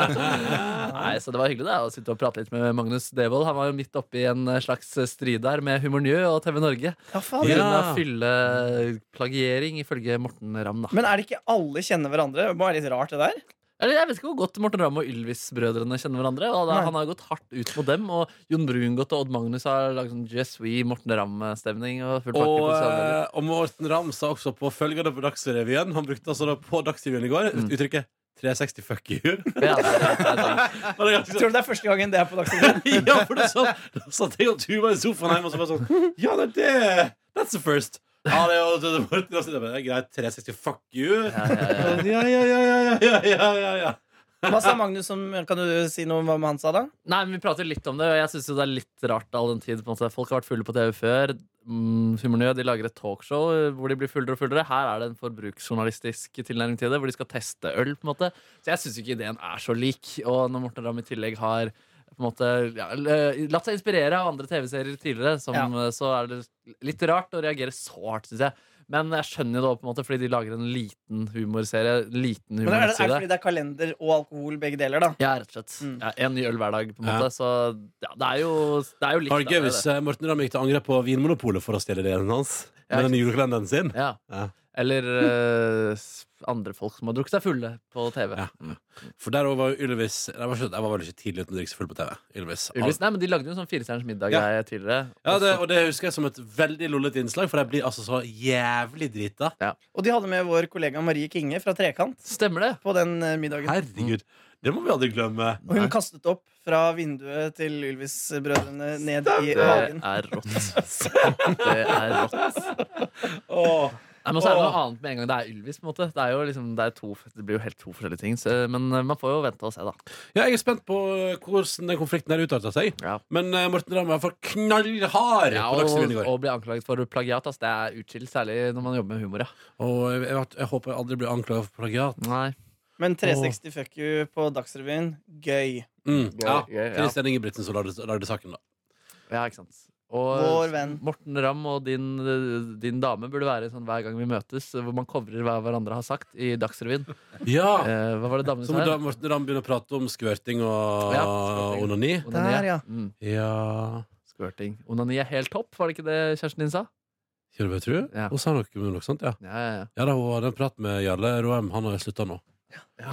B: nei, så det var hyggelig da, å sitte og prate litt med Magnus Devold. Han var jo midt oppi en eh, slags strid der med Humor Njø og TV Norge.
E: Ja,
B: På
E: faen.
B: grunn
C: Ja.
B: av fylleplagiering, ifølge Morten Ramm, da.
E: Men er det ikke alle kjenner hverandre? Det må være litt rart, det der.
B: Eller jeg vet ikke hvor godt Morten Ramm og Ylvis-brødrene kjenner hverandre. Og da,
E: Nei.
B: han har gått hardt ut mot dem, og Jon Brungot og Odd Magnus har lagd sånn Yes We, Morten Ramm-stemning. Og full pakke
C: Og,
B: på sosiale medier.
C: eh, og Morten Ramm sa også på følgende på Dagsrevyen Han brukte altså da på Dagsrevyen i går uttrykket 360 fuck you.
B: Ja, det er sant.
C: Men det er ganske sånn-
E: Tror du det er første gangen det er på Dagsrevyen?
C: ja, for da satt, da satt jeg og Tuva i sofaen hjemme og så bare sånn Ja, nei, det That's the first. Ja, det er jo- det er bare- da sitter jeg bare, greit. 360 fuck you. Ja, ja, ja, ja, ja, ja, ja, ja.
E: Hva sa Magnus om Kan du si noe om hva han sa da?
B: Nei, men Vi prater litt om det, og jeg syns det er litt rart all den tid. På en måte. Folk har vært fulle på TV før. Mm, Humor Nød de lager et talkshow eh, hvor de blir fullere og fullere. Her er det en forbruksjournalistisk tilnærming til det, hvor de skal teste øl. på en måte Så jeg syns ikke ideen er så lik. Og når Morten Ramm i tillegg har på en måte ja, l- eh, latt seg inspirere av andre TV-serier tidligere, som,
E: Ja.
B: eh, så er det litt rart å reagere så hardt, syns jeg. Men jeg skjønner jo det også, på en måte fordi de lager en liten humorserie. Liten
E: Men er det, er det
B: humorside.
E: fordi det er kalender og alkohol, begge deler, da?
B: Ja, rett og slett.
E: Mm.
B: Ja, en ny øl hver dag, på en
C: Ja.
B: måte. Så ja, det er jo, det er jo litt
C: Var det gøy
B: av det,
C: hvis eh, Morten Ramm gikk til angrep på Vinmonopolet for å stjele delen hans?
B: Ja,
C: Med den julekalenderen sin?
B: det. Ja.
C: Ja.
B: Eller eh, s- andre folk som har drukket seg fulle på TV.
C: Ja. For der også var jo Ylvis Jeg var, ikke- jeg var vel ikke tidlig uten å drikke seg full på TV. Ylvis.
B: Ylvis, nei, men De lagde jo en sånn Firestjerners middag-greie
C: Ja.
B: tidligere.
C: Ja, det,
B: Også-
C: og det husker jeg som et veldig lollet innslag, for jeg blir altså så jævlig drita.
E: Og de hadde med vår kollega Marie Kinge fra Trekant
B: Stemmer det?
E: på den eh, middagen.
C: Herregud. Det må vi aldri glemme.
E: Og hun kastet opp fra vinduet til Ylvis-brødrene ned i
B: Det
E: hagen.
B: er rått. Det er rått.
C: Åh.
B: Nei, men så er det noe annet med en gang det er Ylvis. på en måte Det, er jo liksom, det, er to, det blir jo helt to forskjellige ting. Så, men eh, man får jo vente og se, da.
C: Ja, jeg er spent på eh, hvordan den konflikten her utarta seg.
B: Ja.
C: Men eh, Morten Ramm var for knallhard
B: Ja,
C: på Dagsrevyen
B: og,
C: i går. Og,
B: og bli anklaget for plagiat. ass, det er utskilt, særlig når man jobber med humor. Ja.
C: eh, jeg, jeg, jeg håper jeg aldri blir anklaget for plagiat.
B: Nei.
E: Men 360 fuck you på Dagsrevyen, gøy.
C: Mm. Ja.
B: gøy, ja.
C: Kristian Ingebrigtsen som lagde, lagde saken, da.
B: Ja, ikke sant og
E: Vår venn.
B: Morten Ramm og din, din dame burde være sånn hver gang vi møtes, hvor man covrer hva hverandre har sagt i Dagsrevyen.
C: Ja!
B: Eh, hva var det damene
C: Så
B: sa?
C: må da,
B: her?
C: Morten Ramm begynner å prate om skvørting og
B: Ja, skvørting.
C: onani.
B: Onani,
E: Der, ja.
B: Mm,
C: Ja
B: squirting. Onani er helt topp, var det ikke det Kjæresten din sa?
C: Kjørbe, tror du?
B: Ja.
C: Hun sa noe om noe sånt, ja.
B: Ja, ja, ja.
C: Ja da, hun hadde en prat med Jarle Roheim. Han har slutta nå.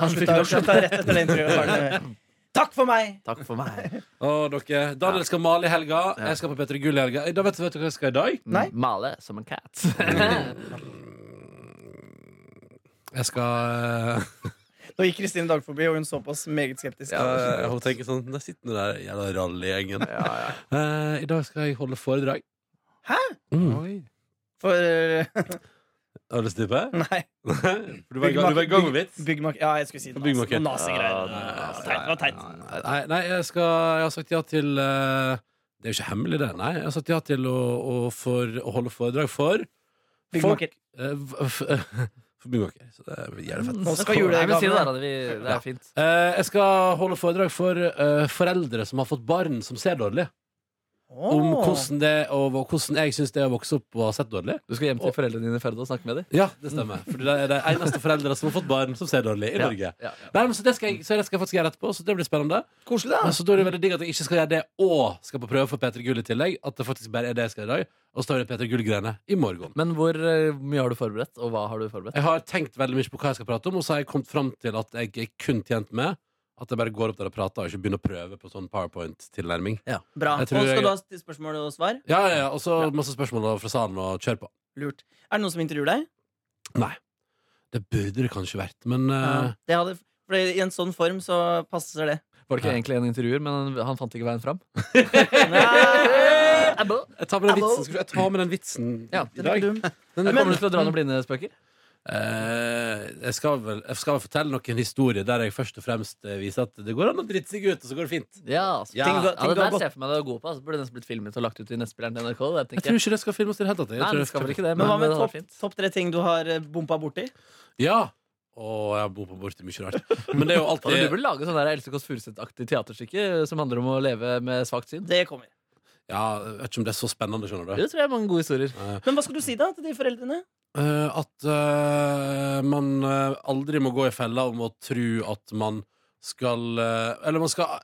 E: Han slutta, slutta rett etter det intervjuet. Takk for meg!
B: Takk for meg.
C: Å, dere. Daniel skal male i helga. Jeg skal på P3 Gull i helga. Eh, Da vet, vet du hva jeg skal i dag?
E: Nei.
B: Mm, Male som en cat.
C: Jeg
B: eh,
C: skal
E: Nå gikk Kristin Dag forbi, og hun såpass meget skeptisk.
C: Eh, Hun tenker sånn Der sitter den der jævla rallygjengen. Eh, I dag skal jeg holde foredrag. Mm.
E: For eh,
C: Har du lyst til det?
E: Nei.
C: For Du var i gang- du var i gang med vits?
E: Byggmak... Ja, jeg skulle si det.
C: Byggmaker.
E: Nazigreier. Det var teit. Det var teit.
C: Nei, nei jeg, skal, jeg har sagt ja til eh, Det er jo ikke hemmelig, det. Nei, jeg har sagt ja til å, å, for, å holde foredrag for folk,
E: Byggmaker.
C: eh, v- f- For byggmaker. Så det er jævlig fett.
E: Nå
B: Nei,
E: skal
B: men si det,
E: julegavene
B: da. Vi, det er fint.
C: Eh, jeg skal holde foredrag for eh, foreldre som har fått barn som ser dårlig. Om
E: Åh.
C: hvordan, det, er å- og hvordan jeg syns det er å vokse opp og ha sett dårlig.
B: Du skal hjem til foreldrene dine i Førde og snakke med dem?
C: Ja, det stemmer. For det er de eneste foreldre som har fått barn som ser dårlig i Norge.
B: Ja, ja.
C: Nei, men så det skal jeg, så det skal jeg faktisk gjøre etterpå, så det blir spennende.
E: Koselig, da.
C: Men så da er det veldig digg at jeg ikke skal gjøre det og skal på prøve for Peter Gull i tillegg. At det faktisk bare er det jeg skal gjøre i dag. Og så tar vi det Peter Gull-greiene i morgen.
B: Men hvor eh, mye har du forberedt, og hva har du forberedt?
C: Jeg har tenkt veldig mye på hva jeg skal prate om, og så har jeg kommet fram til at jeg er kun tjent med at jeg bare går opp der og prater, og ikke begynner å prøve på sånn powerpoint-tilnærming.
E: Bra.
C: Jeg
E: Og
C: tror jeg-
E: skal du ha st- spørsmål og svar?
C: Ja, ja, ja, Og så masse spørsmål da fra salen, og kjør på.
E: Lurt. Er det noen som intervjuer deg?
C: Det burde det kanskje vært, men eh,
E: Det hadde, for det- I en sånn form så passer det.
B: Var det ikke egentlig en intervjuer, men han fant ikke veien fram?
E: Nei.
C: jeg tar med den vitsen, skal vi- jeg tar med den vitsen
B: Ja,
C: i dag.
B: Men kommer du til å dra noen blinde spøker?
C: Eh, jeg, skal vel, jeg skal vel fortelle noen historier der jeg først og fremst eh, viser at det går an å drite seg ut, og så går det fint.
B: Ja, Ting,
C: Ja.
E: Ting du-
B: ja,
E: ting
B: det
E: du
B: der
E: har gått-
B: ser jeg for meg du er god på. Altså, burde nesten blitt filmet og lagt ut i nettspilleren til NRK. Det,
C: Jeg
B: tenker
C: tror
B: jeg.
C: ikke det skal filmes i det hele tatt. jeg. Jeg
B: Nei,
C: tror
B: det
C: jeg
B: skal vel
C: skal-
B: ikke det, men,
E: Men hva med
B: det hadde vært
E: topp
B: fint.
E: topp tre ting du har eh, bompa borti?
C: Ja. Og jeg bor på borti mye rart. Men det er jo
B: Og du
C: alltid
B: burde lage sånn der Else Kåss Furuseth-aktig teaterstykke eh, som handler om å leve med svakt syn.
E: Det kommer.
C: Ja, jeg vet ikke om det er så spennende, skjønner du.
B: Det tror jeg er mange gode historier.
E: Men hva skal du si da til de foreldrene?
C: Eh, at eh, man eh, aldri må gå i fella om å tro at man skal eh, Eller man skal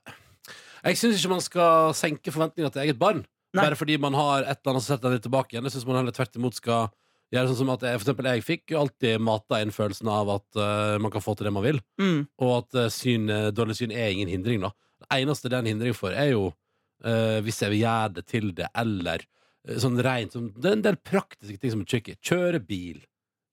C: Jeg syns ikke man skal senke forventningene til eget barn.
E: Nei.
C: Bare fordi man har et eller annet som setter en litt tilbake igjen. Jeg synes man heller tvert imot skal gjøre sånn som at jeg, For eksempel jeg fikk jo alltid mata inn følelsen av at eh, man kan få til det man vil,
E: Mm.
C: og at eh, syn, eh, dårlig syn er ingen hindring, da. Det eneste det er en hindring for, er jo eh, hvis jeg vil gjøre det til det, eller eh, sånn rent sånn, Det er en del praktiske ting som er tricky. Kjøre bil.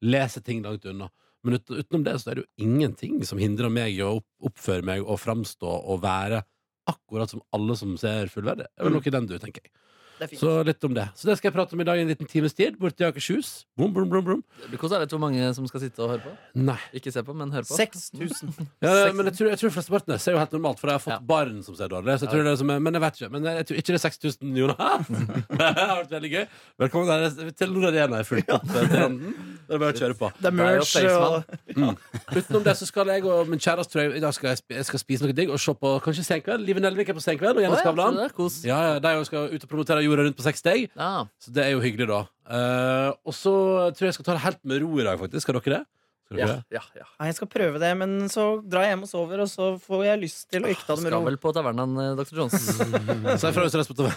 C: Lese ting langt unna. Men ut, utenom det så er det jo ingenting som hindrer meg i å opp, oppføre meg og framstå og være akkurat som alle som ser fullverdig. Det er vel noe i den du, tenker jeg.
E: Det er fint.
C: Så litt om det. Så det skal jeg prate om i dag i en liten times tid, borti Akershus. Brum, brum, brum, brum.
B: Det blir kos, jeg vet hvor mange som skal sitte og høre på.
C: Nei.
B: Ikke se på, men høre på.
E: 6000.
C: Ja, men jeg tror, jeg tror flesteparten ser jo helt normalt, for jeg har fått
B: Ja.
C: barn som ser dårlig. Så jeg tror det er som, men jeg vet ikke. Men jeg tror ikke det er 6000, Jonas. det har vært veldig gøy. Velkommen der, til Nord Arena er fullt opp. eh, til randen. Det er bare å kjøre på.
E: Det
B: Deg
E: er
B: og
E: merch
B: Staysman.
E: og
C: Utenom det så skal jeg og min kjæreste tror jeg, i dag skal jeg, sp- jeg skal spise noe digg og se på kanskje Senkveld. Live Nelvik er på Senkveld, og
B: Å,
C: Jenny
B: ja, så
C: Skavlan.
B: det er kos.
C: Ja, ja, De også skal ut og promotere jorda rundt på seks steg.
B: Ja.
C: Så det er jo hyggelig, da. Eh, og så tror jeg jeg skal ta det helt med ro i dag, faktisk. Skal dere det? Skal dere
B: Ja,
C: det?
B: ja, ja.
E: Nei, jeg skal prøve det, men så drar jeg hjem og sover, og så får jeg lyst til å ikke ta det med
B: Skal
E: ro.
B: vel på tavernaen, eh, Dr. Johnson.
C: Så jeg får jo stress på TV.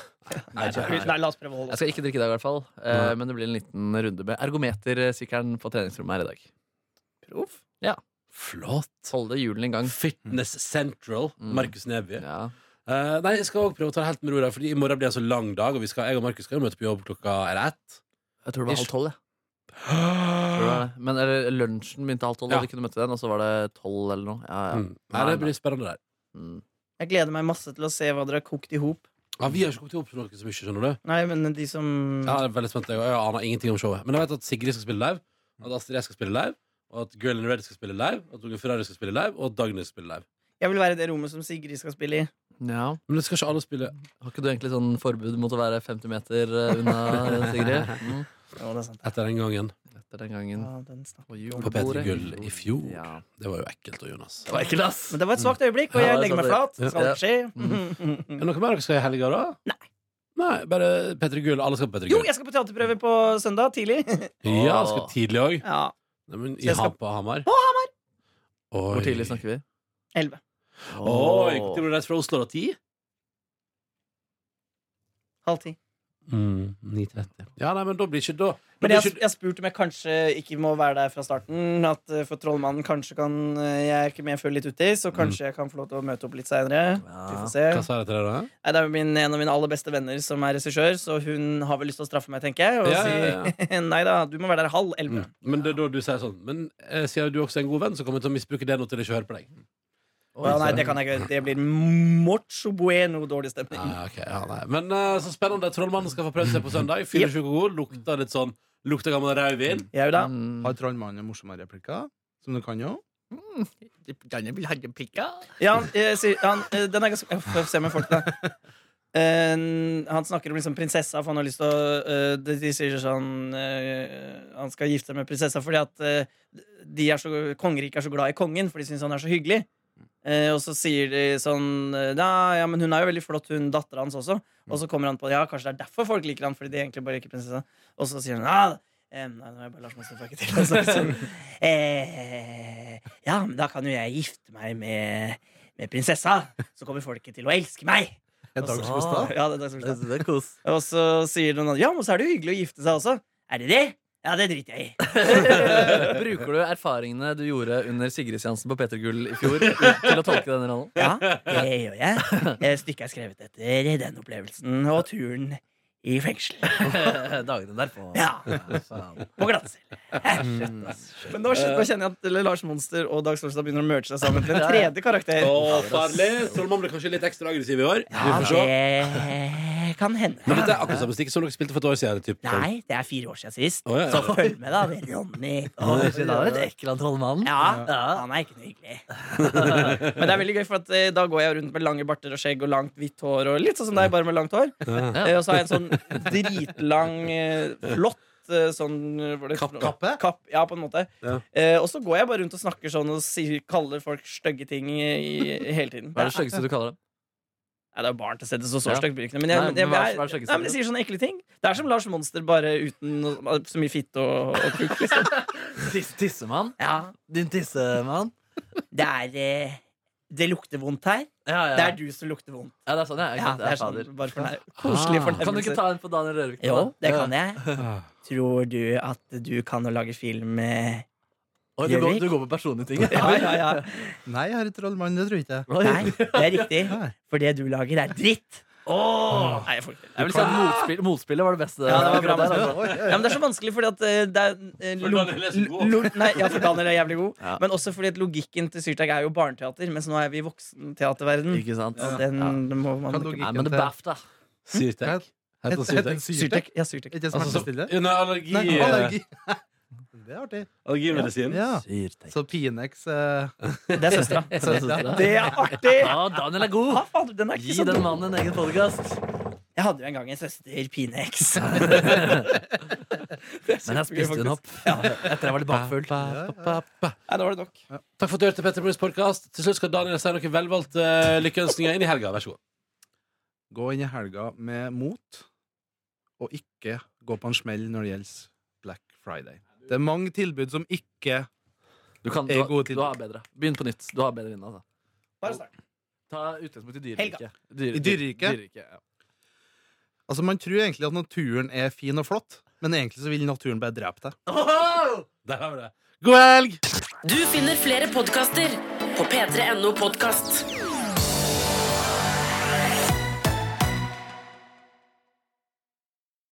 E: Nei, nei, la oss prøve å holde
B: Jeg
E: oss.
B: skal ikke drikke i dag, i hvert fall. Eh, men det blir en liten runde med ergometersykkelen på treningsrommet her i dag.
E: Proff.
C: Flott.
B: Holde hjulene i gang.
C: Fitness Central.
B: Mm.
C: Markus Neby.
B: Ja.
C: Eh, nei, jeg skal også prøve å ta det helt med ro, da, Fordi i morgen blir det en så lang dag, og vi skal, jeg og Markus skal jo møte på jobb klokka er det ett.
B: Jeg tror det var
C: Ish.
B: halv tolv. jeg. Tror det var det. Men eller, lunsjen begynte halv tolv,
C: Ja.
B: og de kunne møte den, og så var det tolv eller noe. Ja, ja.
C: Mm. Nei, det blir spennende der.
B: Mm.
E: Jeg gleder meg masse til å se hva dere har kokt i hop.
C: Ja, Vi har ikke kommet opp til noe så mye, skjønner du.
E: Nei, men de som
C: Ja, jeg er veldig spent, jeg, og jeg aner ingenting om showet. Men jeg vet at Sigrid skal spille live, at Astrid S skal spille live, og at Girl in Red skal spille live, at Unge Ferrari skal spille live, og at Dagny skal spille live.
E: Jeg vil være i det rommet som Sigrid skal spille i.
B: ja.
C: Men det skal ikke alle spille
B: Har ikke du egentlig sånn forbud mot å være 50 meter eh, unna Sigrid? Mm.
E: Ja, det er sant.
C: etter den gangen.
B: Etter den gangen.
E: Ja, den snakker.
B: På
C: På P3 Gull i fjor.
B: Ja.
C: Det var jo ekkelt, og Jonas.
B: Det var ekkelt, ass!
E: Men det var et svakt øyeblikk, og
B: Ja,
E: jeg
B: det er
E: legger meg
B: sant
E: flat. Det Mhm. skal ikke skje.
C: Er det noe mer dere skal i helga, da? Nei. Nei, Bare P3 Gull. Alle skal på P3
E: Jo,
C: Gull.
E: jeg skal på teaterprøve på søndag tidlig.
C: Ja, skal tidlig òg.
E: Ja,
C: Nei, men
E: Så
C: I
E: jeg skal-
C: Hamar. På Hamar. Oi.
B: Hvor tidlig snakker vi?
E: 11.
C: Oi, Når du reiser fra Oslo da? Ti?
E: Halv ti.
C: Mm, 9.30. Ja, nei, men da blir ikke da, da
E: Men
C: blir
E: jeg,
C: ikke,
E: jeg spurte om jeg kanskje ikke må være der fra starten. At eh, for Trollmannen kanskje kan eh, Jeg er ikke med før litt uti, så kanskje jeg kan få lov til å møte opp litt seinere. Vi får se.
C: Hva sa jeg til deg da?
E: Nei, Det er jo min, en av mine aller beste venner som er regissør, så hun har vel lyst til å straffe meg, tenker jeg. Og
C: Ja, ja,
E: si nei da, du må være der halv elleve.
C: Mm. Men det er da du sier sånn Men eh, siden du også er en god venn, så kommer jeg til å misbruke det nå til jeg ikke hører på deg.
E: Å, ja, nei, det kan jeg ikke. gjøre. Det blir mucho bueno dårlig stemning.
C: Nei, ok, ja, nei. Men eh, så spennende. Trollmannen skal få prøvd seg på søndag. 24 god. Lukter litt sånn Lukter gammel rødvin.
E: Jau da.
B: Mm.
G: Har trollmannen morsomme replikker? Som du kan jo?
E: Ja, han, eh, sier, han, eh, den er ganske Jeg får se med folk, da. Eh, han snakker om liksom prinsessa, for han har lyst til å eh, de, de sier sånn eh, Han skal gifte seg med prinsessa fordi at eh, de er så, kongeriket er så glad i kongen, for de syns han er så hyggelig. Eh, og så sier de sånn eh, «Nei, Ja, men hun er jo veldig flott, hun dattera hans også. Og så kommer han på Ja, kanskje det er derfor folk liker han, fordi de egentlig bare liker prinsessa. Og så sier han ja, eh, Nei, nå er jeg bare Lars Monsen, får jeg ikke til. Så, sånn, eh, ja, men da kan jo jeg gifte meg med med prinsessa, så kommer folket til å elske meg.
G: En dags
B: Altså,
G: kostnad?
E: Ja, det er dagsforstand.
H: Det er kos.
E: Og så sier noen andre ja, men så er det jo hyggelig å gifte seg også. Er det det? Ja, det driter jeg i.
B: Bruker du erfaringene du gjorde under Sigrid-seansen på Peter Gull i fjor, til å tolke denne rollen?
E: Ja, det gjør jeg. Eh, Stykket er skrevet etter den opplevelsen og turen i fengsel.
H: Dagene derpå.
E: Ja,
H: Faen.
E: på glattcelle. Men nå, skj- nå kjenner jeg at Lars Monster og Dag Solstad begynner å merge seg sammen til en tredje karakter.
C: Å, farlig! Trollmannen blir kanskje litt ekstra aggressiv i år. Vi
E: Ja,
C: får se.
E: det kan
C: Men
E: hende.
C: dette er akkurat samme stikk som dere spilte for et år siden. Typ.
E: Nei, det er fire år siden sist,
C: Å, ja, ja.
E: så følg med, da. Det er Ronny.
H: Å, shit, Da er det et ekkel av trollmannen.
E: Ja, han er ikke noe hyggelig. Men det er veldig gøy, for at, eh, da går jeg rundt med lange barter og skjegg og langt hvitt hår. Og litt sånn som deg, bare med langt hår.
B: Ja.
E: Eh, Og så har jeg en sånn dritlang, eh, flott eh, Sånn eh, var det-
G: Kappe?
E: Kapp, ja, på en måte.
C: Ja.
E: Eh, og så går jeg bare rundt og snakker sånn og sier, kaller folk stygge ting i, i, hele tiden.
B: Hva er det styggeste du kaller det?
E: Nei, det er jo barn til stedet, så så
B: Ja.
E: stygt blir det ikke. Men jeg,
B: Nei,
E: men jeg,
B: men hva er-
E: jeg,
B: hva er det styggeste
E: nei, men jeg sier sånne ekle ting. Det er som Lars Monster, bare uten noe- så mye fitte og, og kuk, liksom.
H: Tis- Tissemann?
E: Ja,
H: Din tissemann?
E: det er eh, Det lukter vondt her.
H: Ja, ja.
E: Det er du som lukter vondt.
B: Ja, det er sånn, ja. ikke
E: Ja,
B: sant?
E: det er sånn,
B: fader. Ah.
E: bare fornær koselig fornærmelse.
B: Kan du ikke ta en på Daniel Rørvik?
E: Jo, det kan jeg. Tror du at du kan å lage film eh,
H: Oi, du, går,
E: Gjøvik?
H: du går på personlige ting.
E: Ja, ja, ja.
G: Nei, herre trollmann, det tror jeg ikke.
E: Nei, det er riktig. For det du lager, er dritt. Oh. Nei, jeg får ikke til.
B: Jeg vil si at sånn motspill, Motspillet var det beste.
E: Ja, det var bra, sånn.
B: der,
E: det var
B: altså.
E: Ja, men det er så vanskelig, fordi at eh, det er eh,
C: For
E: log-
C: Daniel er så god.
E: log- Nei, ja, for Daniel er jævlig god.
H: Ja.
E: Men også fordi at logikken til Syrtag er jo barneteater, mens nå er vi i voksenteaterverden.
B: Ikke sant?
E: Og den må man
G: Kan du
B: altså. Nei, men det BAFTA.
C: Syrtek. Heter han Syrtek?
E: Syrtag. Ja, Syrtag.
G: Ikke smertestillende?
C: Under allergi,
G: Nei, allergi. Det er artig.
C: allergimedisin.
G: Ja.
H: Syrtek.
G: Så Pinex eh,
E: Det er søstera.
B: Søstera.
E: Det er artig!
B: Ja, Daniel er god!
E: Ja, fader, den er ikke
B: Gi
E: så
B: den
E: dum.
B: mannen en egen podkast.
E: Jeg hadde jo en gang en søster, Pinex.
B: Men jeg spiste den opp etter jeg var litt bakfull.
E: Nei, da var det nok.
C: Takk for at du hørte Petter Morgens podkast. Til slutt skal Daniel si noen velvalgte eh, lykkeønskninger inn i helga. Vær så god.
G: Gå inn i helga med mot, og ikke gå på en smell når det gjelder Black Friday. Det er mange tilbud som ikke
B: Du, kan, du,
G: Jeg er
B: har-
G: god til-
B: du har bedre. Begynn på nytt. Du har bedre vinner, altså.
E: Bare start.
B: Ta utgangspunkt i
E: Helga.
B: dyreriket. Dyre-
G: I dyreriket?
B: dyreriket, ja.
G: Altså, Man tror egentlig at naturen er fin og flott, men egentlig så vil naturen bare drepe deg.
C: Der har vi det. God helg!
I: Du finner flere podkaster på p3.no podkast.